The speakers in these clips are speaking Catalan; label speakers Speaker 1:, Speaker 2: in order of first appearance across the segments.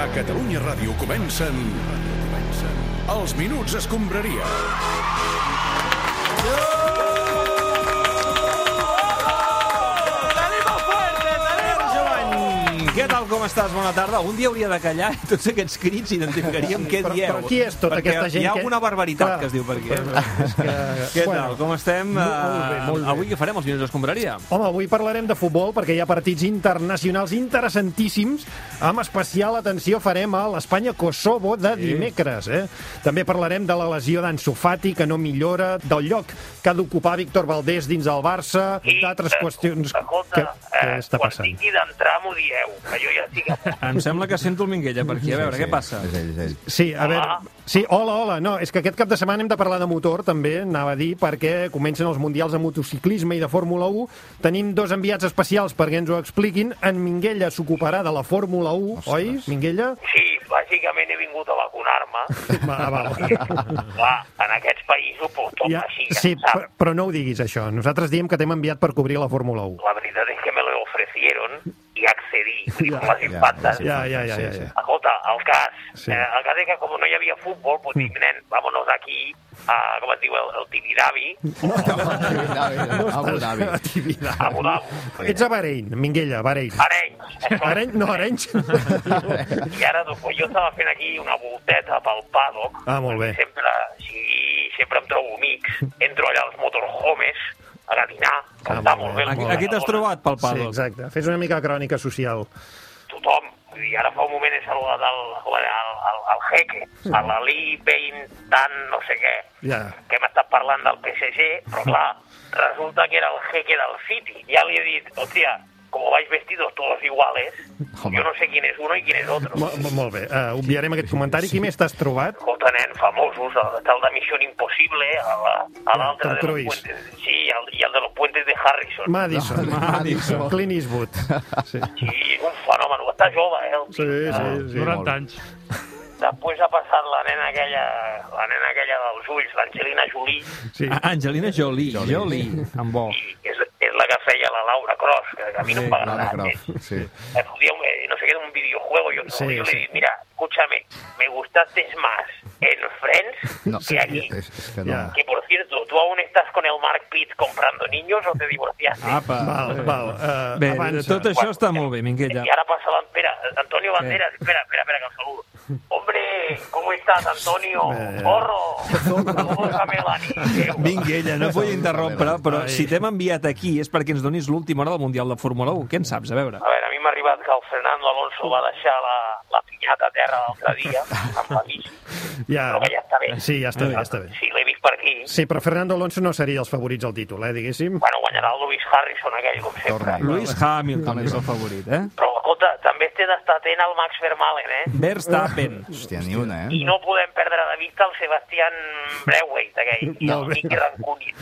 Speaker 1: A Catalunya Ràdio comencen... comencen Els Minuts Escombraria.
Speaker 2: Tenim el fuerte, tenim el Joan! Què tal, com estàs? Bona tarda. Un dia hauria de callar i tots aquests crits identificaríem què
Speaker 3: Però-
Speaker 2: dieu.
Speaker 3: però qui és tota
Speaker 2: Perquè
Speaker 3: aquesta gent
Speaker 2: Hi ha
Speaker 3: que-
Speaker 2: alguna barbaritat
Speaker 3: Clar.
Speaker 2: que es diu per aquí. eh?
Speaker 3: És que...
Speaker 2: Què tal, com estem? Eh,
Speaker 3: molt bé, molt bé.
Speaker 2: Avui què farem, els minuts d'escombraria?
Speaker 3: Home, avui parlarem de futbol perquè hi ha partits internacionals interessantíssims. Amb especial atenció farem a l'Espanya-Kosovo de dimecres. Eh? També parlarem de la lesió d'Ansu Fati, que no millora, del lloc que ha d'ocupar Víctor Valdés dins el Barça, d'altres
Speaker 4: eh,
Speaker 3: qüestions...
Speaker 4: Escolta,
Speaker 3: que, que
Speaker 4: eh,
Speaker 3: està
Speaker 4: quan
Speaker 3: passant?
Speaker 4: tingui d'entrar m'ho dieu, que jo ja estic... a-
Speaker 2: Em sembla que sento el Minguella per aquí. A veure, què passa?
Speaker 5: És ell, és ell.
Speaker 3: Sí, a veure... Sí, hola, hola. No, és que aquest cap de setmana hem de parlar de motor, també, anava a dir, perquè comencen els mundials de motociclisme i de Fórmula 1. Tenim dos enviats especials perquè ens ho expliquin. En Minguella s'ocuparà de la Fórmula 1, Ostres. oi, Minguella?
Speaker 4: Sí, bàsicament he vingut a vacunar-me.
Speaker 3: Va, va.
Speaker 4: Clar, en aquests països, pues, tot ja, així,
Speaker 3: sí,
Speaker 4: ja
Speaker 3: però,
Speaker 4: saps.
Speaker 3: però no ho diguis, això. Nosaltres diem que t'hem enviat per cobrir la Fórmula 1.
Speaker 4: La veritat és que me lo ofrecieron i accedí,
Speaker 3: Ja,
Speaker 4: ja, com les
Speaker 5: ja,
Speaker 4: infantes.
Speaker 5: sí.
Speaker 4: Ja,
Speaker 3: Ja, ja, ja,
Speaker 5: Sí,
Speaker 3: ja.
Speaker 5: sí.
Speaker 3: ja.
Speaker 4: Escolta, el cas,
Speaker 3: Sí.
Speaker 4: sí. eh, el cas és que com no hi havia futbol, doncs dic, nen, vámonos aquí, a, com es diu, el, el Tibidabo,
Speaker 5: Abu Dhabi.
Speaker 4: a Abu Dhabi,
Speaker 3: Ets a Bahrein, Minguella, Bahrein.
Speaker 4: Arenys.
Speaker 3: Arenys, no, Arenys.
Speaker 4: I ara doncs, jo estava fent aquí una volteta pel paddock.
Speaker 3: Ah, molt bé.
Speaker 4: Sempre, sí, sempre em trobo amics. Entro allà als motorhomes a gatinar, que
Speaker 3: Ah,
Speaker 4: està
Speaker 3: molt
Speaker 4: molt
Speaker 3: bé.
Speaker 4: bé.
Speaker 2: Aquí, aquí t'has trobat, pel
Speaker 3: Sí,
Speaker 2: Pado.
Speaker 3: exacte. Fes una mica de crònica social.
Speaker 4: Tothom. Vull dir, ara fa un moment he saludat el, el, el, el jeque, a l'Ali Bain Tan, no sé què,
Speaker 3: Ja.
Speaker 4: que m'ha estat parlant del PSG, però clar, resulta que era el jeque del City. Ja li he dit, hòstia, com vais vestidos todos iguales,
Speaker 5: Home.
Speaker 4: jo no sé quién és uno i quién és otro.
Speaker 3: Mo- mo- Molt bé, uh, obviarem aquest comentari. Qui més t'has trobat?
Speaker 4: Escolta, nen, famosos, el, el de Mission Impossible, a la- a l'altre
Speaker 3: Tom
Speaker 4: de los
Speaker 3: Cruise.
Speaker 4: puentes, sí, i el, i el de los puentes de Harrison.
Speaker 3: Madison,
Speaker 5: No, Madison.
Speaker 3: Clint Eastwood. Sí,
Speaker 4: Sí, un fenomen, està jove, eh? El
Speaker 3: sí,
Speaker 4: tio.
Speaker 3: sí. sí.
Speaker 6: anys.
Speaker 4: Després ha passat la nena aquella, la nena aquella dels ulls, l'Angelina Jolie,
Speaker 3: sí.
Speaker 2: Ah, Angelina Jolie.
Speaker 5: Jolie.
Speaker 2: Jolie. Amb bo.
Speaker 4: i és, és la que feia la Laura Cross, que a mi no em va
Speaker 5: Lara
Speaker 4: agradar.
Speaker 5: Croft, sí.
Speaker 4: Eh, podía un- eh, no sé qué, de un videojuego. Yo,
Speaker 3: Sí,
Speaker 4: yo
Speaker 3: sí.
Speaker 4: le dije, mira, escúchame, me gustaste más en Friends
Speaker 5: No,
Speaker 4: que aquí.
Speaker 5: és, és que no.
Speaker 3: Ja.
Speaker 4: Que por cierto, ¿tú aún estás con el Mark Pitt comprando niños o te divorciaste?
Speaker 2: Apa.
Speaker 3: Val, val. Uh,
Speaker 2: Bé,
Speaker 3: avança.
Speaker 2: tot això està molt bé, Minguella.
Speaker 4: Y ahora pasa la... Espera, Antonio Banderas, espera, espera, espera, que os saludo. Hombre, ¿cómo estás, Antonio?
Speaker 3: Eh.
Speaker 4: Zorro, ¿cómo está Melanie?
Speaker 2: Minguella, no et vull interrompre, però
Speaker 3: Ai.
Speaker 2: si t'hem enviat aquí és perquè ens donis l'última hora del Mundial de Fórmula 1. Què en saps? A veure.
Speaker 4: A veure, a mi m'ha arribat que el Fernando Alonso va deixar la, la pinyata a terra l'altre dia, amb la bici,
Speaker 3: Ja.
Speaker 4: però que ja està bé.
Speaker 3: Sí, ja està bé, ja està bé.
Speaker 4: Sí, l'he vist per aquí.
Speaker 3: Sí, però Fernando Alonso no seria els favorits al títol, eh, diguéssim.
Speaker 4: Bueno, guanyarà el Lewis Harrison aquell, com sempre.
Speaker 5: Torna.
Speaker 2: Lewis Hamilton és el favorit, eh?
Speaker 4: Però, escolta, també té d'estar atent al Max Vermaelen, eh?
Speaker 2: Verstappen.
Speaker 5: Hòstia, ni una,
Speaker 4: I
Speaker 5: eh?
Speaker 4: no podem perdre de vista el Sebastián Breweit, aquell, i
Speaker 3: Molt
Speaker 4: el
Speaker 3: bé.
Speaker 4: Nicky Rancuni.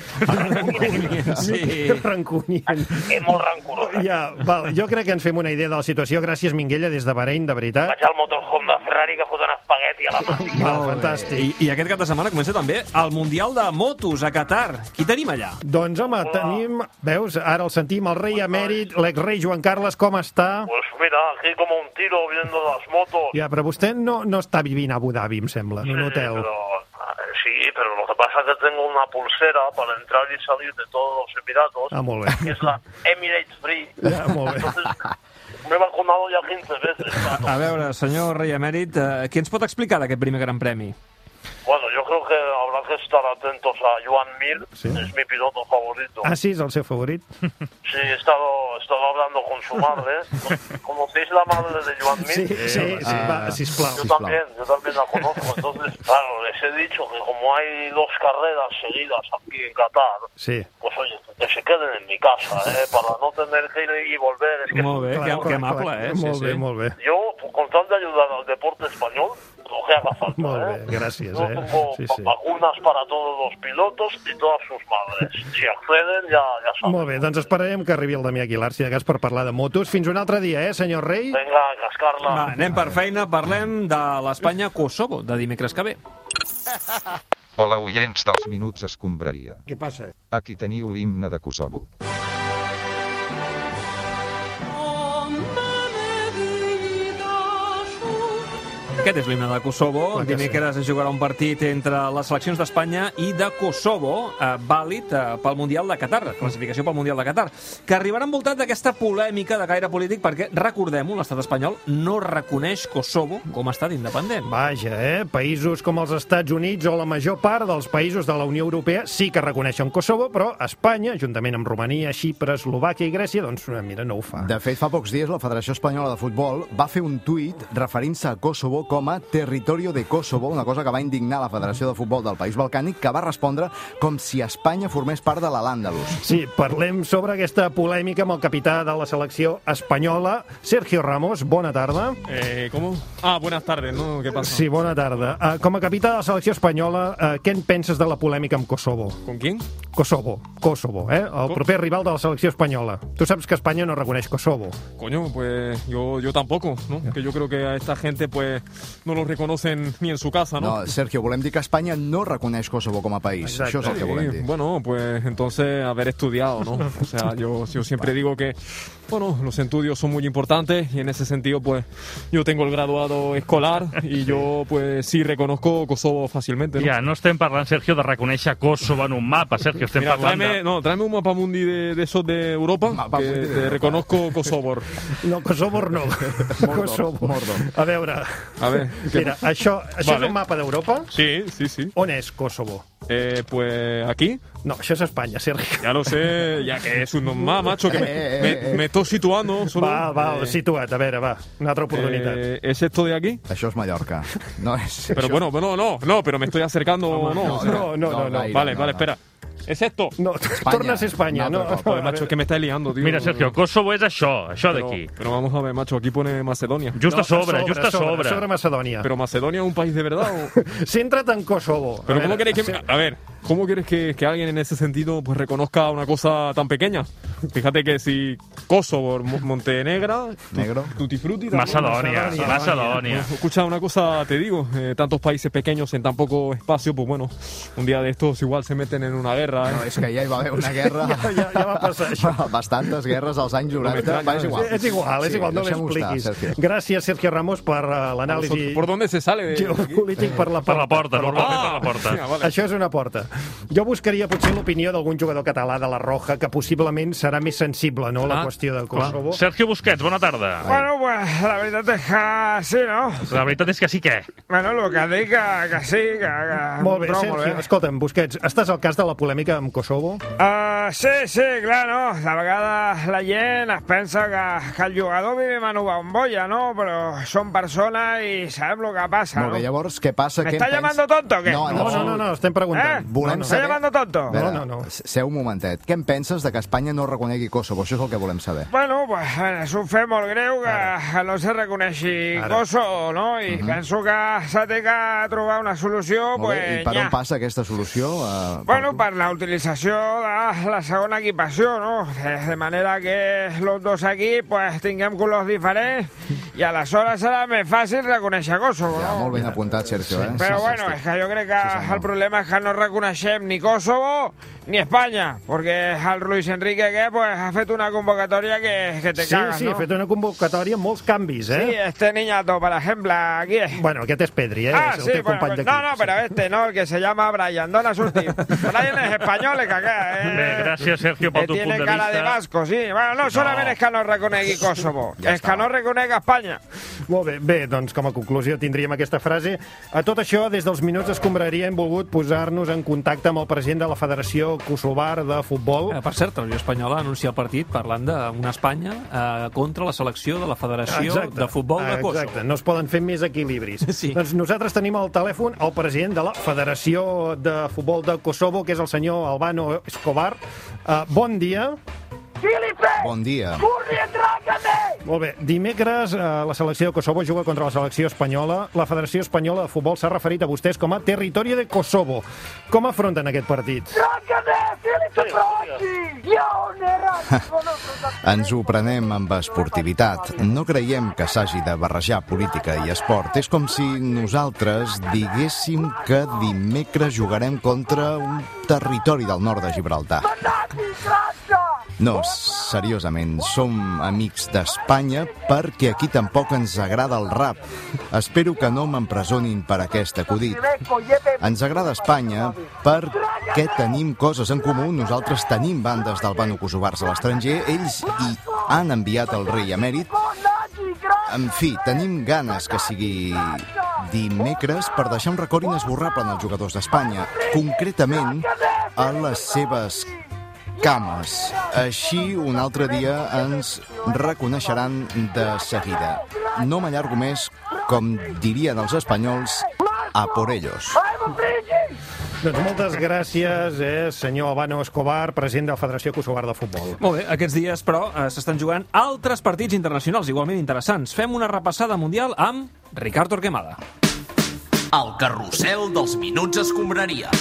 Speaker 4: Rancuni.
Speaker 2: Sí.
Speaker 3: Rancunien.
Speaker 4: És molt rancorós. eh?
Speaker 3: Ja, val. Jo crec que ens fem una idea de la situació. Gràcies, Minguella, des de Bahrein, de veritat.
Speaker 4: Vaig al motorhome de Ferrari que foten espagueti a la mà.
Speaker 3: Val, fantàstic.
Speaker 2: I, I aquest cap de setmana comença també el Mundial de Motos a Qatar. Qui tenim allà?
Speaker 3: Doncs, home, tenim... Veus, ara el sentim, el rei emèrit, l'ex-rei Joan Carles, com està?
Speaker 4: Pues mira, aquí como un tiro viendo las motos.
Speaker 3: Ja, però vostè no, no està vivint a Abu Dhabi, em sembla, en un hotel.
Speaker 4: Sí, pero, eh, sí, pero lo que pasa es que tengo una pulsera para entrar y salir de todos los Emiratos,
Speaker 3: Ah, molt bé.
Speaker 4: que es la Emirates Free.
Speaker 3: Ja, molt bé.
Speaker 4: Entonces, me he vacunado ya 15 veces.
Speaker 2: A veure, senyor rei emèrit, eh, què ens pot explicar d'aquest primer gran premi?
Speaker 4: Bueno, yo creo que habrá que estar atentos a Joan Mir,
Speaker 3: Sí.
Speaker 4: es mi piloto favorito.
Speaker 3: Ah, sí, és el seu favorit?
Speaker 4: Sí, he estado, he estado hablando con su madre. ¿Conocéis la madre de Joan Mir?
Speaker 3: Sí, sí,
Speaker 2: Eh,
Speaker 3: sí, va, sisplau.
Speaker 4: Yo
Speaker 5: Sisplau.
Speaker 4: también, yo también la conozco. Entonces, claro, les he dicho que como hay dos carreras seguidas aquí en Qatar,
Speaker 3: Sí.
Speaker 4: Pues oye, que se queden en mi casa, ¿eh? Para no tener que ir y volver. Es que
Speaker 2: Molt bé, que, que amable, eh? Sí,
Speaker 3: Molt bé,
Speaker 2: sí.
Speaker 3: molt bé.
Speaker 4: Yo, pues, con tal de ayudar al deporte español, lo que haga falta,
Speaker 3: Molt
Speaker 4: ¿eh?
Speaker 3: bé, gràcies,
Speaker 4: Yo
Speaker 3: eh?
Speaker 4: tengo
Speaker 3: Sí, sí.
Speaker 4: vacunas para todos los pilotos y todas sus madres. Si acceden, ya, ya saben.
Speaker 3: Molt bé, doncs esperarem que arribi el Damià Aguilar, si de cas, per parlar de motos. Fins un altre dia, eh, senyor Rei?
Speaker 4: Venga, a cascarla.
Speaker 2: Va, anem per feina, parlem de l'Espanya-Kosovo, de dimecres que ve.
Speaker 7: Hola oients dels Minuts Escombraria.
Speaker 3: Què passa?
Speaker 7: Aquí teniu l'himne de Kosovo.
Speaker 8: On me ne vidi da
Speaker 2: Aquest és l'himne de Kosovo.
Speaker 3: Clar que
Speaker 2: Dimecres es jugarà un partit entre les seleccions d'Espanya i de Kosovo, eh, vàlid eh, pel Mundial de Qatar, classificació pel Mundial de Qatar, que arribarà envoltat d'aquesta polèmica de caire polític perquè, recordem-ho, l'estat espanyol no reconeix Kosovo com a estat independent.
Speaker 3: Vaja, eh? Països com els Estats Units o la major part dels països de la Unió Europea sí que reconeixen Kosovo, però Espanya, juntament amb Romania, Xipre, Eslovàquia i Grècia, doncs, mira, no ho fa.
Speaker 5: De fet, fa pocs dies la Federació Espanyola de Futbol va fer un tuit referint-se a Kosovo com a territorio de Kosovo, una cosa que va indignar la Federació de Futbol del País Balcànic, que va respondre com si Espanya formés part de la l'Àndalus.
Speaker 3: Sí, parlem sobre aquesta polèmica amb el capità de la selecció espanyola, Sergio Ramos. Bona tarda.
Speaker 6: Eh, ¿Cómo? Ah, buenas tardes, ¿no? ¿Qué pasa?
Speaker 3: Sí, bona tarda. Uh, com a capità de la selecció espanyola, uh, què en penses de la polèmica amb Kosovo?
Speaker 6: ¿Con quién?
Speaker 3: Kosovo, Kosovo, eh? El
Speaker 6: Co-
Speaker 3: proper rival de la selecció espanyola. Tu saps que Espanya no reconeix Kosovo.
Speaker 6: Coño, pues yo, yo tampoco, ¿no? Que yo creo que a esta gente pues no lo reconocen ni en su casa, ¿no?
Speaker 5: No, Sergio, volem dir que Espanya no reconeix Kosovo com a país.
Speaker 3: Exacte.
Speaker 5: Això és el
Speaker 6: Sí,
Speaker 5: que volem dir.
Speaker 6: bueno, pues entonces haber estudiado, ¿no? O sea, yo, yo siempre digo que, bueno, los estudios son muy importantes y en ese sentido, pues, yo tengo el graduado escolar y yo, pues, sí reconozco Kosovo fàcilmente, ¿no?
Speaker 8: Ja, no estem parlant, Sergio, de reconèixer Kosovo en un mapa, Sergio, estem
Speaker 6: Mira,
Speaker 8: parlant
Speaker 6: tráeme,
Speaker 8: de...
Speaker 6: no, tráeme un mapa mundi de, de esos de Europa
Speaker 5: Mapa
Speaker 6: que
Speaker 5: mundi de
Speaker 6: te
Speaker 5: Europa.
Speaker 6: reconozco Kosovo.
Speaker 3: No, Kosovo no. Kosovo.
Speaker 5: Mordor.
Speaker 3: A veure,
Speaker 6: A ver, ¿qué
Speaker 3: mira, això, això
Speaker 6: Vale.
Speaker 3: és un mapa d'Europa?
Speaker 6: Sí, sí, sí.
Speaker 3: On és Kosovo?
Speaker 6: Eh, pues aquí,
Speaker 3: No, això és Espanya, Sergi.
Speaker 6: ya lo sé, ya que es un nomás, macho, que me,
Speaker 5: Eh, eh,
Speaker 6: me-
Speaker 5: eh.
Speaker 6: me estoy situando solo.
Speaker 3: Va, va,
Speaker 6: Eh,
Speaker 3: situa't, a veure, va, una altra oportunitat.
Speaker 6: eh, ¿Es esto de aquí?
Speaker 5: Això és Mallorca. No és...
Speaker 6: Pero
Speaker 5: això-
Speaker 6: bueno, bueno, no, no, pero me estoy acercando, no. o sea,
Speaker 3: no, Oh, no, no, no.
Speaker 5: gaire,
Speaker 6: vale,
Speaker 5: no,
Speaker 6: vale,
Speaker 5: no.
Speaker 6: espera. ¿Es esto?
Speaker 3: No, torna a ser Espanya.
Speaker 5: Un
Speaker 3: No,
Speaker 5: altre cop.
Speaker 3: no,
Speaker 6: Joder,
Speaker 3: a
Speaker 6: macho,
Speaker 3: veure.
Speaker 6: es que me estáis liando, tío.
Speaker 8: Mira, Sergio, Kosovo és això, això
Speaker 6: pero,
Speaker 8: d'aquí.
Speaker 6: pero vamos a ver, macho, aquí pone Macedonia.
Speaker 8: Just
Speaker 3: No,
Speaker 8: a sobre, just a sobre.
Speaker 3: Sobre, sobre Macedònia.
Speaker 6: Pero Macedonia es un país de verdad. o-
Speaker 3: Centra't en Kosovo.
Speaker 6: Pero
Speaker 3: A
Speaker 6: ¿cómo
Speaker 3: veure,
Speaker 6: queréis que... A ver, ¿cómo quieres que, que alguien en ese sentido pues reconozca una cosa tan pequeña? Fíjate que si Kosovo, Mo- Montenegra,
Speaker 5: Negro.
Speaker 6: Tutti Frutti... también- Pues,
Speaker 8: Macedònia,
Speaker 3: Macedònia.
Speaker 8: Macedònia.
Speaker 6: Escucha, una cosa te digo, eh, tantos países pequeños en tan poco espacio, pues bueno, un día de estos igual se meten en una guerra. ¿eh?
Speaker 5: No, és que ja hi va haver una guerra...
Speaker 3: Ja, ja, ja va passar això.
Speaker 5: Bastantes guerres als anys
Speaker 6: m'estranya,
Speaker 5: 90. Va, és igual.
Speaker 3: És igual, és
Speaker 5: Sí,
Speaker 3: igual, no
Speaker 5: deixem-ho
Speaker 3: m'expliquis.
Speaker 5: estar, Sergio.
Speaker 3: Gràcies, Sergio Ramos, per eh, l'anàlisi
Speaker 6: Nosotros- ¿Por dónde se sale? de-
Speaker 3: geopolític per la porta.
Speaker 8: Per la porta, normalment
Speaker 9: Ah,
Speaker 8: per la
Speaker 6: Mira,
Speaker 8: porta.
Speaker 6: vale.
Speaker 3: Això és una porta. Jo buscaria potser l'opinió d'algun jugador català de la Roja, que possiblement serà més sensible, no?, a la
Speaker 8: Ah,
Speaker 3: qüestió de Kosovo.
Speaker 8: Sergio Busquets, bona tarda.
Speaker 10: Bueno, pues la veritat és que sí, no?
Speaker 8: La veritat és que sí que...
Speaker 10: Bueno, el que dic que, que sí, que... que... eh.
Speaker 3: Molt bé,
Speaker 10: però
Speaker 3: Sergio, escolta'm, Busquets, estàs al cas de la polèmica amb Kosovo?
Speaker 10: Uh, sí, sí, clar, no? De vegades la gent es pensa que, que el jugador vive en una bombolla, no? Però som persones i sabem el que passa,
Speaker 5: Molt bé,
Speaker 10: no?
Speaker 5: llavors, què passa?
Speaker 10: ¿Me
Speaker 5: Què en
Speaker 10: está
Speaker 5: pens-
Speaker 10: llamando tonto o qué?
Speaker 5: No,
Speaker 3: No, no, no, no estem
Speaker 10: Eh?
Speaker 3: preguntant.
Speaker 5: Volem
Speaker 10: no.
Speaker 5: saber...
Speaker 10: Està llamando tonto?
Speaker 5: A Veure,
Speaker 3: No, no, no.
Speaker 5: Seu un momentet. Què en penses de que Espanya no reconegui Kosovo? Això és el que volem saber.
Speaker 10: Bueno, pues eh, és un fet molt greu que, que no se reconeixi
Speaker 3: Ara.
Speaker 10: Kosovo, no? I penso que s'ha de que trobar una solució,
Speaker 5: Mhm. Molt
Speaker 10: pues,
Speaker 5: bé, I per
Speaker 10: nyà.
Speaker 5: on passa aquesta solució? Eh,
Speaker 10: Bueno, per la utilització de la segona equipació, no? Eh, De manera que los dos aquí pues, tinguem colors diferents i aleshores serà més fàcil reconèixer Kosovo,
Speaker 5: Ja,
Speaker 10: no?
Speaker 5: molt ben apuntat, Sergio. Eh?
Speaker 10: Però
Speaker 5: Sí, sí,
Speaker 10: bueno,
Speaker 5: sí.
Speaker 10: és que jo crec que
Speaker 5: Sí, senyor.
Speaker 10: el problema és que no reconeixem ni Kosovo ni Espanya, perquè el Luis Enrique que pues, ha fet una convocatòria que, que te
Speaker 3: Sí,
Speaker 10: cagas,
Speaker 3: sí,
Speaker 10: no?
Speaker 3: ha fet una convocatòria amb molts canvis,
Speaker 10: Sí,
Speaker 3: eh?
Speaker 10: este niñato, por ejemplo, aquí es.
Speaker 3: Bueno, aquest és Pedri, eh?
Speaker 10: Ah,
Speaker 3: és el
Speaker 10: sí,
Speaker 3: teu
Speaker 10: bueno,
Speaker 3: company
Speaker 10: pues-
Speaker 3: d'equip.
Speaker 10: no, no, pero este no, el que se llama Brian, dona sus tips. Brian es español, es que acá, eh.
Speaker 8: Bé, gràcies, Sergio,
Speaker 10: Que
Speaker 8: pel teu
Speaker 10: tiene
Speaker 8: punt de
Speaker 10: cara de
Speaker 8: vista.
Speaker 10: vasco, sí. Bueno, no, solamente es que no reconegui Kosovo,
Speaker 5: Ja
Speaker 10: es
Speaker 5: està.
Speaker 10: que no reconega España.
Speaker 3: Molt bé, bé, doncs com a conclusió tindríem aquesta frase. A tot això, des dels minuts d'escombraria hem volgut posar-nos en contacte amb el president de la Federació Kosovar de Futbol.
Speaker 2: Eh, Per cert, la Unió Espanyola anuncia el partit parlant d'una Espanya eh, contra la selecció de la Federació de Futbol de Kosovo.
Speaker 3: Ah, Exacte, no es poden fer més equilibris.
Speaker 2: Sí.
Speaker 3: Doncs nosaltres tenim al telèfon el president de la Federació de Futbol de Kosovo, que és el senyor Albano Escobar. Uh, bon dia.
Speaker 4: ¡Filipe!
Speaker 5: Bon dia.
Speaker 4: ¡Corre, trágame!
Speaker 3: Molt bé, dimecres eh, la selecció de Kosovo juga contra la selecció espanyola. La Federació Espanyola de Futbol s'ha referit a vostès com a territori de Kosovo. Com afronten aquest partit?
Speaker 4: ¡Trágame, Filipe Prochi! ¡Yo, Nerón!
Speaker 5: Ens ho prenem amb esportivitat. No creiem que s'hagi de barrejar política i esport. És com si nosaltres diguéssim que dimecres jugarem contra un territori del nord de Gibraltar.
Speaker 4: ¡Nati, grasa!
Speaker 5: No, seriosament, som amics d'Espanya perquè aquí tampoc ens agrada el rap. Espero que no m'empresonin per aquest acudit. Ens agrada Espanya perquè tenim coses en comú. Nosaltres tenim bandes d'albano-kosovars a l'estranger, ells hi han enviat el rei emèrit. En fi, tenim ganes que sigui dimecres per deixar un record inesborrable en els jugadors d'Espanya, concretament a les seves cames. Així, un altre dia ens reconeixeran de seguida. No m'allargo més, com dirien els espanyols, a por ellos.
Speaker 3: Doncs moltes gràcies, eh, senyor Albano Escobar, president de la Federació Kosovar de Futbol.
Speaker 2: Molt bé, aquests dies, però, eh, s'estan jugant altres partits internacionals igualment interessants. Fem una repassada mundial amb Ricard Torquemada.
Speaker 11: El carrusel dels minuts escombraria.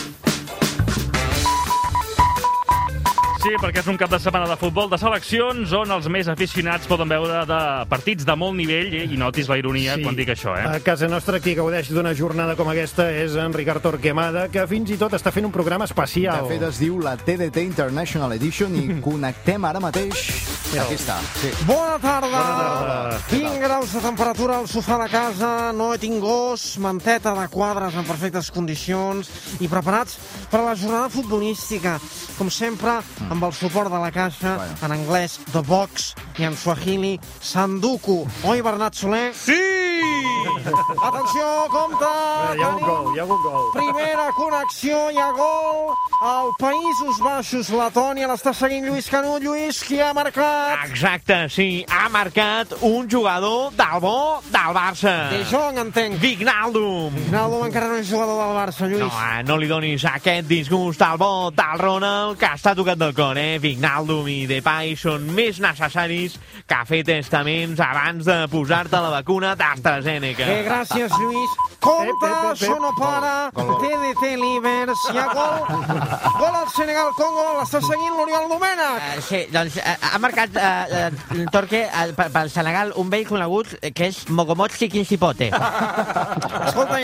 Speaker 8: Sí, perquè és un cap de setmana de futbol de seleccions on els més aficionats poden veure de partits de molt nivell eh, i notis la ironia sí. quan dic això,
Speaker 9: Ah.
Speaker 8: eh?
Speaker 3: A casa nostra, qui gaudeix d'una jornada com aquesta és en Ricard Torquemada, que fins i tot està fent un programa
Speaker 5: De
Speaker 3: especial.
Speaker 5: fet, es diu la TDT International Edition i connectem ara mateix. Aquí està. Sí.
Speaker 12: Bona tarda. Tinc graus de temperatura al sofà de casa, no he tingut gos, manteta de quadres en perfectes condicions i preparats per a la jornada futbolística. Com sempre, amb el suport de la caixa,
Speaker 5: Bueno.
Speaker 12: en anglès, The Box, i en suahili, Sanduku. Oi, Bernat Soler? Sí! Atenció, compte!
Speaker 3: Eh, Hi ha un
Speaker 12: Tenim
Speaker 3: gol, hi ha un gol.
Speaker 12: Primera connexió, hi ha gol al Països Baixos, Letònia, l'està seguint Lluís Canut. Lluís, qui ha marcat?
Speaker 13: Exacte, sí, ha marcat un jugador del bo del Barça.
Speaker 12: De Jong, entenc.
Speaker 13: Vignaldum.
Speaker 12: Naldo encara no és jugador del Barça, Lluís.
Speaker 13: No, eh, no li donis aquest disgust al bo del Ronald, que està tocat del cor, eh? Vignaldum i Depay són més necessaris que fer testaments abans de posar-te la vacuna d'AstraZeneca.
Speaker 12: Eh, gràcies, Lluís. Compte,
Speaker 3: Ep, ep, ep, ep.
Speaker 12: això no para.
Speaker 5: Gol, gol.
Speaker 12: TDT Libers, hi ha gol. Gol al Senegal, Congo, l'està seguint l'Oriol Domènech.
Speaker 14: Eh, Sí, doncs eh, ha marcat eh, eh, Torque eh, pe- pel Senegal un vell conegut eh, que és Mogomotsi Kinsipote.
Speaker 12: Escolta,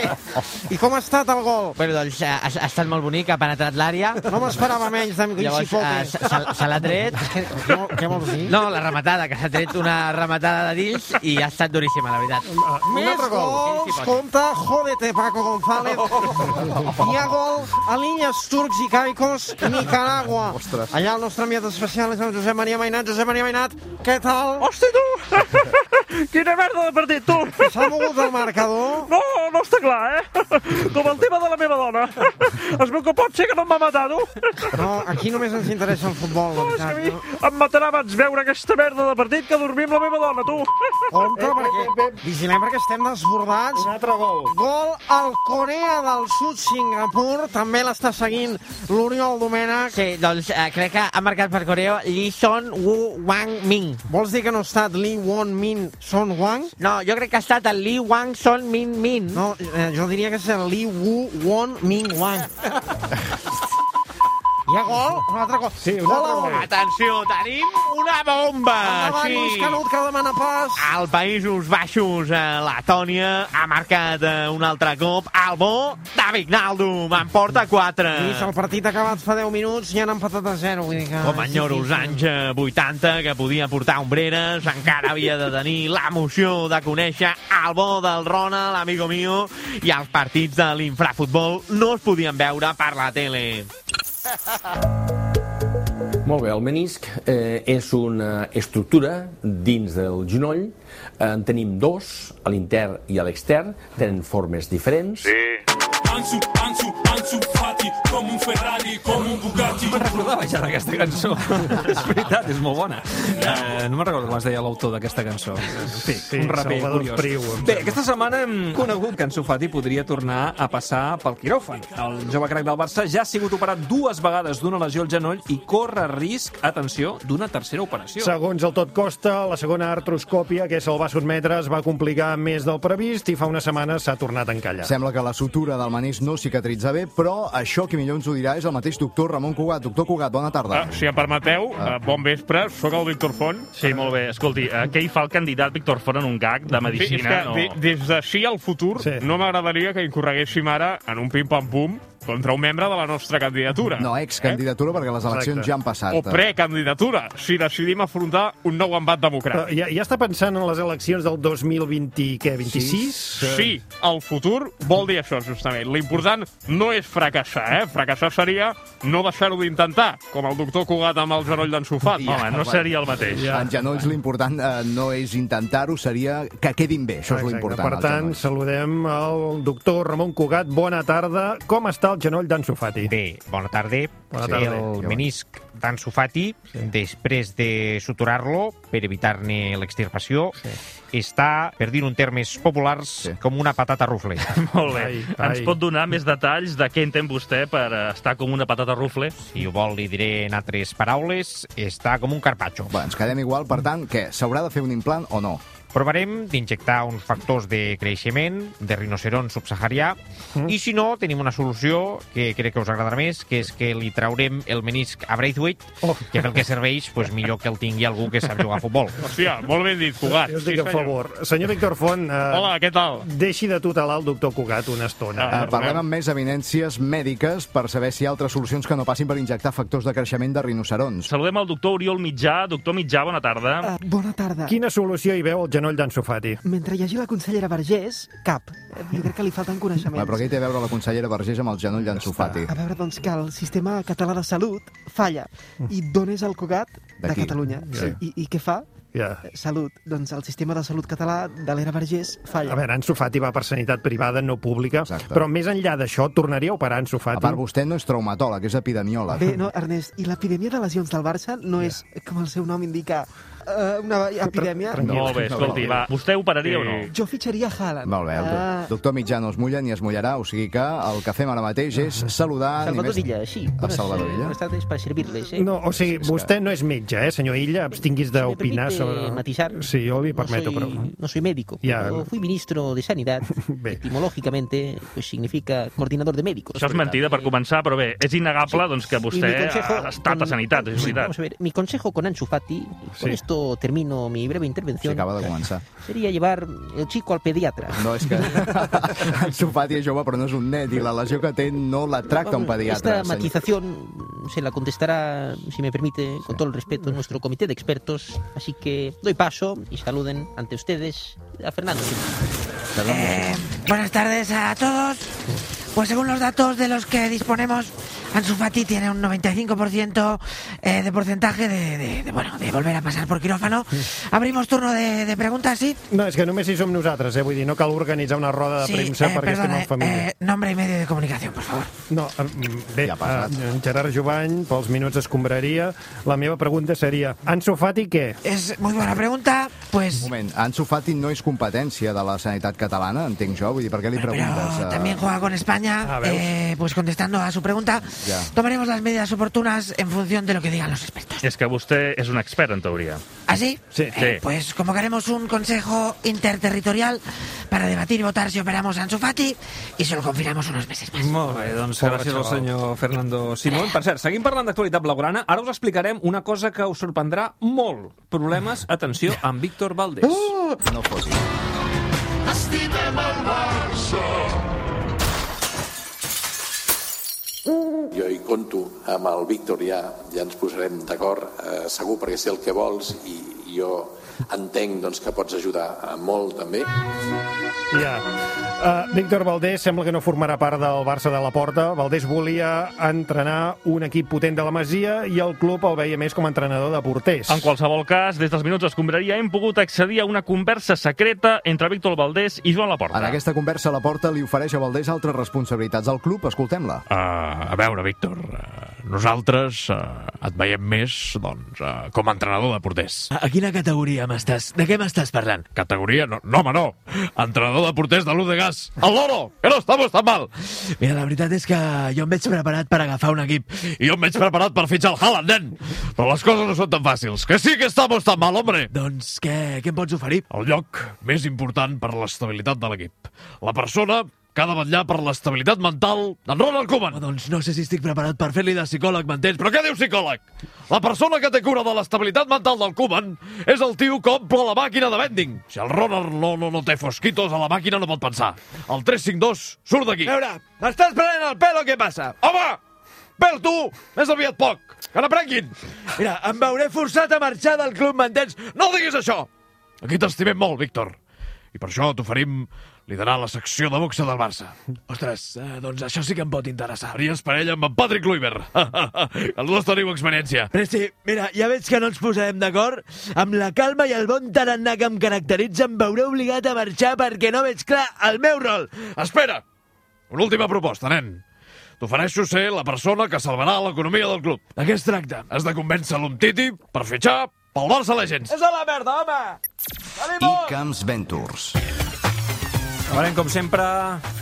Speaker 12: i com ha estat el gol?
Speaker 14: Bueno, doncs eh, ha, ha estat molt bonic, ha penetrat l'àrea.
Speaker 12: No m'esperava menys de Miguel
Speaker 14: Llavors eh,
Speaker 12: Cipote.
Speaker 14: se, se- se l'ha tret.
Speaker 12: Què, què vol- què vols dir?
Speaker 14: No, la rematada, que s'ha tret una rematada de dins i ha estat duríssima, la veritat.
Speaker 12: Més
Speaker 14: altre gol.
Speaker 12: gols,
Speaker 14: Cipote.
Speaker 12: compte, jódete, Paco González. Hi ha gol a l'Illes Turcs i Caicos, Nicaragua.
Speaker 5: Ostres.
Speaker 12: Allà el nostre enviat especial és el Josep Maria Mainat. Josep Maria Mainat, què tal?
Speaker 13: Hosti, tu! Quina merda de partit, tu!
Speaker 12: S'ha mogut el marcador?
Speaker 13: No, no està clar, eh? Com el tema de la meva dona. Es veu que pot ser que no em va matar, tu.
Speaker 12: No, aquí només ens interessa el futbol, la
Speaker 13: No, és que a mi
Speaker 12: veritat. No?
Speaker 13: em matarà abans veure aquesta merda de partit que dormir amb la meva dona, tu.
Speaker 12: Compte, perquè... Vigilem perquè estem desbordats.
Speaker 3: Un altre gol.
Speaker 12: Gol al Corea del Sud, Singapur. També l'està seguint l'Oriol Domènech.
Speaker 14: Sí, doncs eh, crec que ha marcat per Coreo Lee Son Woo Wang Ming.
Speaker 12: Vols dir que no ha estat Lee Won Min Son Wang?
Speaker 14: No, jo crec que ha estat el Lee Wang Son Min Min.
Speaker 12: No, eh, jo diria que és el Lee Woo Won Min Wang. Hi ha gol? Un altre gol.
Speaker 3: Sí, un
Speaker 12: gol
Speaker 3: altre
Speaker 12: al-
Speaker 3: gol.
Speaker 13: Atenció, tenim una bomba!
Speaker 12: Endavant, Lluís Canut, que demana pas.
Speaker 13: Al Països Baixos, a Letònia, ha marcat eh, un altre cop el bo de Vignaldum. En porta 4.
Speaker 12: Lluís, el partit acabat fa 10 minuts i han empatat a 0. Vull dir que...
Speaker 13: Com enyoro els anys eh, 80, que podia portar ombreres, encara havia de tenir l'emoció de conèixer el bo del Ronald, amigo mio, i els partits de l'infrafutbol no es podien veure per la tele.
Speaker 11: Molt bé, el menisc eh, és una estructura dins del genoll. En tenim dos, a l'intern i a l'extern, tenen formes diferents. Sí.
Speaker 1: Ansu, Ansu, Ansu Fati, com un Ferrari, com un Bugatti.
Speaker 2: Me'n recordava ja d'aquesta cançó. és veritat, és molt bona. Eh, no me'n recordo com es deia l'autor d'aquesta cançó. En fi,
Speaker 3: Sí,
Speaker 2: un raper
Speaker 3: Salvador
Speaker 2: curiós.
Speaker 3: Priu, em
Speaker 2: Bé, aquesta setmana hem conegut que en Sufati podria tornar a passar pel quiròfan. El jove crac del Barça ja ha sigut operat dues vegades d'una lesió al genoll i corre risc, atenció, d'una tercera operació.
Speaker 3: Segons el Tot Costa, la segona artroscòpia que se'l va sotmetre es va complicar més del previst i fa una setmana s'ha tornat a encallar.
Speaker 5: Sembla que la sutura del manís no cicatritza bé, però això que millor ens ho dirà és el mateix doctor Ramon Cugat. Doctor Cugat, bona tarda.
Speaker 9: Ah, si em permeteu, ah. bon vespre, sóc el Víctor Font.
Speaker 8: Sí, molt bé. Escolti, eh, què hi fa el candidat Víctor Font en un gag de
Speaker 9: Sí, és
Speaker 8: medicina?
Speaker 9: que de, des de sí al futur
Speaker 3: Sí.
Speaker 9: sí. no m'agradaria que incorreguéssim ara en un pim-pam-pum contra un membre de la nostra candidatura.
Speaker 5: No, excandidatura, perquè les eleccions ja han passat.
Speaker 9: O
Speaker 5: eh.
Speaker 9: precandidatura, si decidim afrontar un nou embat
Speaker 3: Però
Speaker 9: democràtic.
Speaker 3: ja, ja està pensant en les eleccions del 2020, què, Eh, 26?
Speaker 9: Sí, el futur vol dir això, justament. L'important no és fracassar, eh? Fracassar seria no deixar-ho d'intentar, com el doctor Cugat amb el genoll d'ensofat.
Speaker 5: Ja. En genolls l'important eh, no és intentar-ho, seria que quedin bé. Això és l'important.
Speaker 3: Per
Speaker 5: als
Speaker 3: tant, saludem al doctor Ramon Cugat. Bona tarda. Com està el genoll d'en Sofati?
Speaker 15: Bé, bona tarda.
Speaker 3: Bona
Speaker 15: Sí,
Speaker 3: tarda.
Speaker 15: el menisc d'Ansu Fati, després de suturar-lo per evitar-ne l'extirpació, està, per dir un termes populars, com una patata rufle.
Speaker 8: Molt bé. Ens pot donar més detalls de què entén vostè per eh, estar com una patata rufle?
Speaker 15: Si ho vol, li diré en altres paraules, està com un carpaccio.
Speaker 5: Va, ens quedem igual, per tant, què? S'haurà de fer un implant o no?
Speaker 15: Provarem d'injectar uns factors de creixement de rinoceron subsaharià i si no, tenim una solució que crec que us agradarà més, que és que li traurem el menisc a Braithwaite, que pel que serveix, pues, millor que el tingui algú que sap jugar a futbol.
Speaker 9: Hòstia, molt ben dit, Cugat.
Speaker 3: Jo
Speaker 9: Sí,
Speaker 3: estic a
Speaker 9: senyor.
Speaker 3: favor. Senyor Víctor Font... Eh,
Speaker 9: Hola, què tal?
Speaker 3: Deixi de tutelar el doctor Cugat una estona.
Speaker 5: Eh, parlem amb més eminències mèdiques per saber si hi ha altres solucions que no passin per injectar factors de creixement de rinocerons.
Speaker 8: Saludem al doctor Oriol Mitjà. Doctor Mitjà, bona tarda.
Speaker 3: Bona tarda. Quina solució hi veu el genoll d'en Sofati?
Speaker 16: Mentre hi hagi la consellera Vergés, cap. Eh, Jo crec que li falten
Speaker 5: Va,
Speaker 16: coneixements.
Speaker 5: però què hi té a veure la consellera Vergés amb el genoll d'ensofati?
Speaker 16: A veure, doncs, que el sistema català de salut falla i dones el Cugat de
Speaker 5: D'aquí.
Speaker 16: Catalunya.
Speaker 5: Mm. Sí.
Speaker 16: I, I què fa?
Speaker 3: Ja.
Speaker 16: Eh, Salut. Doncs el sistema de salut català de l'era Vergés
Speaker 3: A
Speaker 16: falla.
Speaker 3: veure, Ansu Fati va per sanitat privada, no pública, Exacte. però més enllà d'això, tornaria a operar Ansu Fati?
Speaker 5: A part, vostè no és traumatòleg, és epidemiòleg.
Speaker 16: Bé, no, Ernest, i l'epidèmia de lesions del Barça no és, com el seu nom indica, eh, una epidèmia...
Speaker 8: Molt bé, escolti, va. Vostè operaria o no?
Speaker 16: Jo fitxaria Haaland.
Speaker 5: Molt bé, el do-
Speaker 16: Ah.
Speaker 5: doctor Mitjà no es mulla ni es mullarà, o sigui que el que fem ara mateix és saludar... ni
Speaker 17: Salvador
Speaker 5: més-
Speaker 17: Illa, sí.
Speaker 5: A Salvador Illa.
Speaker 17: Buenas tardes para servirles, ¿eh?
Speaker 3: No, o sigui, vostè no és metge, eh, senyor Illa? Abstinguis d'opinar
Speaker 17: permite
Speaker 3: sobre...
Speaker 17: matizar,
Speaker 3: Sí, jo li permeto,
Speaker 17: soy-
Speaker 3: però...
Speaker 17: No soy médico,
Speaker 3: Ya.
Speaker 17: pero fui ministro de Sanidad. Etimológicamente, pues significa coordinador de médicos. Pues
Speaker 8: Això és mentida per començar, però bé, és innegable doncs, que vostè
Speaker 17: mi consejo
Speaker 8: ha estat a Sanitat, és veritat.
Speaker 17: Vamos a ver, mi consejo con Ansu Fati, y con
Speaker 8: Sí.
Speaker 17: esto termino mi breve intervención.
Speaker 5: Se acaba de comenzar.
Speaker 17: Sería llevar el chico al pediatra.
Speaker 5: No, és que Ansu Fati és jove, però no és un net, i la lesió que té no la tracta un
Speaker 17: Vamos,
Speaker 5: pediatra.
Speaker 17: Esta matización se la contestará, si me permite, con todo el respeto, nuestro comité de expertos. Así que doy paso y saluden ante ustedes a Fernando.
Speaker 18: Eh, buenas tardes a todos. Pues según los datos de los que disponemos, Ansu Fati tiene un 95% eh, de porcentaje de, de- de, bueno, de volver a pasar por quirófano. Abrimos turno de, de preguntas, ¿sí?
Speaker 3: No, és que només hi som nosaltres, eh? Vull dir, no cal organitzar una roda de
Speaker 18: Sí,
Speaker 3: premsa
Speaker 18: eh,
Speaker 3: perquè
Speaker 18: perdona,
Speaker 3: estem en família.
Speaker 18: eh, nombre y medio de comunicación, por favor.
Speaker 3: No, eh, bé, ja en Gerard Jovany, pels minuts d'escombraria, la meva pregunta seria, Ansu Fati què?
Speaker 18: Es muy buena pregunta, pues...
Speaker 5: Un moment, Ansu Fati no és competència de la sanitat catalana, entenc jo, vull dir, per què li preguntes? eh?
Speaker 18: También juega con España. eh, pues contestando a su pregunta,
Speaker 5: Ya.
Speaker 18: tomaremos las medidas oportunas en función de lo que digan los expertos.
Speaker 8: És que vostè és un expert, en teoria.
Speaker 18: ¿Así?
Speaker 8: Sí.
Speaker 18: Eh, pues convocaremos un consejo interterritorial para debatir y votar si operamos a Ansu Fati y se lo confinamos unos meses más.
Speaker 2: Molt bé, doncs
Speaker 18: Pobre
Speaker 2: gràcies al
Speaker 18: xaval.
Speaker 2: senyor Fernando Simón. Per cert, seguim parlant d'actualitat blaugrana. Ara us explicarem una cosa que us sorprendrà molt. Problemes, atenció, amb Víctor Valdés. Uh!
Speaker 5: No fotis.
Speaker 1: Estimem el Barça.
Speaker 19: Jo hi conto amb el Víctor ja, ja ens posarem d'acord, eh, segur, perquè sé el que vols i jo entenc doncs, que pots ajudar eh, molt també.
Speaker 3: Ja. Uh, Víctor Valdés sembla que no formarà part del Barça de la Porta. Valdés volia entrenar un equip potent de la Masia i el club el veia més com a entrenador de porters.
Speaker 8: En qualsevol cas, des dels minuts d'escombraria hem pogut accedir a una conversa secreta entre Víctor Valdés i Joan Laporta.
Speaker 5: En aquesta conversa, la porta li ofereix a Valdés altres responsabilitats al club. Escoltem-la.
Speaker 9: Uh, a veure, Víctor, uh, nosaltres uh, et veiem més doncs, uh, com a entrenador de porters.
Speaker 20: A a quina categoria m'estàs? De què m'estàs parlant?
Speaker 9: Categoria? No, no home, no. Entrenador de porters de l'U de Gas. El Loro, que no estamos tan mal.
Speaker 20: Mira, la veritat és que jo em veig preparat per agafar un equip.
Speaker 9: I jo em veig preparat per fitxar el Haaland, nen. Però les coses no són tan fàcils. Que sí que estamos tan mal, hombre.
Speaker 20: Doncs què, què em pots oferir?
Speaker 9: El lloc més important per l'estabilitat de l'equip. La persona
Speaker 21: que ha de vetllar per l'estabilitat mental d'en Ronald Koeman.
Speaker 20: Doncs no sé si estic preparat per fer-li de psicòleg, m'entens?
Speaker 21: Però què diu psicòleg? La persona que té cura de l'estabilitat mental del Koeman és el tio que omple la màquina de vending. Si el Ronald no, no, no té fosquitos, a la màquina no pot pensar. El 352 surt d'aquí.
Speaker 22: A veure, m'estàs prenent el pèl o què passa?
Speaker 21: Home! Pel tu! Més aviat poc! Que n'aprenguin!
Speaker 22: Mira, em veuré forçat a marxar del club, m'entens?
Speaker 21: No diguis això! Aquí t'estimem molt, Víctor. I per això t'oferim liderar la secció de boxa del Barça.
Speaker 22: Ostres, eh, doncs això sí que em pot interessar.
Speaker 21: Faries parella amb en Patrick Kluivert. Els dos teniu experiència.
Speaker 22: Però sí, mira, ja veig que no ens posarem d'acord. Amb la calma i el bon tarannà que em caracteritza em veuré obligat a marxar perquè no veig clar el meu rol.
Speaker 21: Espera! Una última proposta, nen. T'ofereixo ser la persona que salvarà l'economia del club.
Speaker 22: De què es tracta?
Speaker 21: Has de convèncer l'Umtiti per fitxar pel Barça Legends.
Speaker 22: És a la merda, home!
Speaker 5: I Camps Ventures.
Speaker 2: Acabarem, com sempre,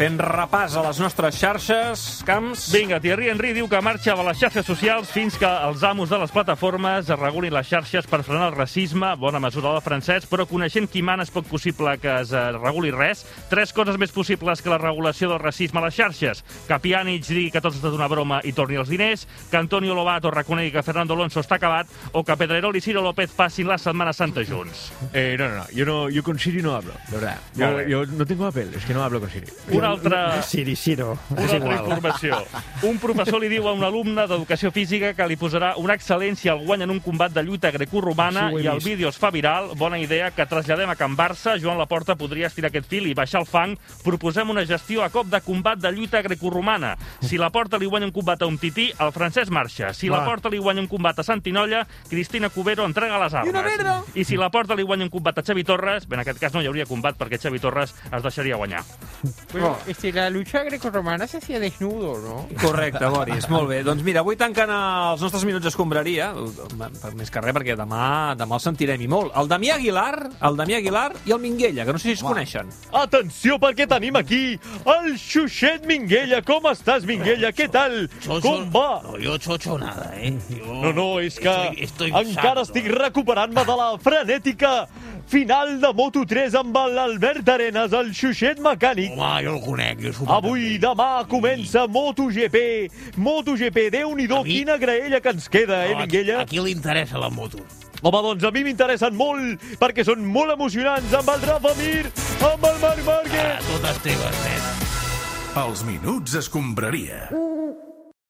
Speaker 2: fent repàs a les nostres xarxes, camps...
Speaker 8: Vinga, Thierry Henry diu que marxa de les xarxes socials fins que els amos de les plataformes es regulin les xarxes per frenar el racisme, bona mesura del francès, però coneixent qui mana és poc possible que es eh, reguli res. Tres coses més possibles que la regulació del racisme a les xarxes. Que Pjanic digui que tot ha estat una broma i torni els diners, que Antonio Lobato reconegui que Fernando Alonso està acabat o que Pedrerol i Ciro López passin la Setmana Santa junts.
Speaker 22: Eh, no, no, no. Yo, no, yo con Siri no hablo, de verdad.
Speaker 8: Molt
Speaker 22: Yo,
Speaker 8: bé.
Speaker 22: yo no tengo papel, es que no hablo con Siri.
Speaker 8: Una altra-
Speaker 3: Siri, Siro.
Speaker 8: Una altra informació. Un professor li diu a un alumne d'educació física que li posarà una excel·lència al guany en un combat de lluita grecorromana
Speaker 3: Sí, ho he
Speaker 8: i el
Speaker 3: vist.
Speaker 8: vídeo es fa viral. Bona idea que traslladem a Can Barça. Joan Laporta podria estirar aquest fil i baixar el fang. Proposem una gestió a cop de combat de lluita grecorromana. Si la porta li guanya un combat a un tití, el francès marxa. Si la
Speaker 21: Va.
Speaker 8: porta li guanya un combat a Santinolla, Cristina Cubero entrega les armes.
Speaker 21: I una merda!
Speaker 8: I si la porta li guanya un combat a Xavi Torres, bé, en aquest cas no hi hauria combat perquè Xavi Torres es deixaria guanyar.
Speaker 10: Bueno, este, la lucha grecorromana se hacía desnudo, ¿no?
Speaker 2: Correcte, Boris, molt bé. Doncs mira, avui tancant els nostres minuts d'escombraria, per més que res, perquè demà, demà el sentirem i molt. El Damià Aguilar, el Damià Aguilar i el Minguella, que no sé si es coneixen.
Speaker 21: Atenció, perquè tenim aquí el Xuxet Minguella. Com estàs, Minguella? Què tal? Com va?
Speaker 23: No, yo chocho nada, ¿eh? Yo
Speaker 21: No, no, és que
Speaker 23: estoy eh. sano.
Speaker 21: encara estic recuperant-me de la frenètica final de Moto3 amb l'Albert Arenas, el xuxet mecànic.
Speaker 23: Home, jo el conec, jo he sopat
Speaker 21: Avui, demà, comença MotoGP. MotoGP, déu-n'hi-do, quina graella que ens queda, eh,
Speaker 23: No, a-
Speaker 21: Minguella?
Speaker 23: a qui li interessa la moto?
Speaker 21: Home, doncs a mi m'interessen molt, perquè són molt emocionants amb el Rafa Mir, amb el Marc Márquez.
Speaker 23: eh. totes teves, nen.
Speaker 1: Els minuts escombraria.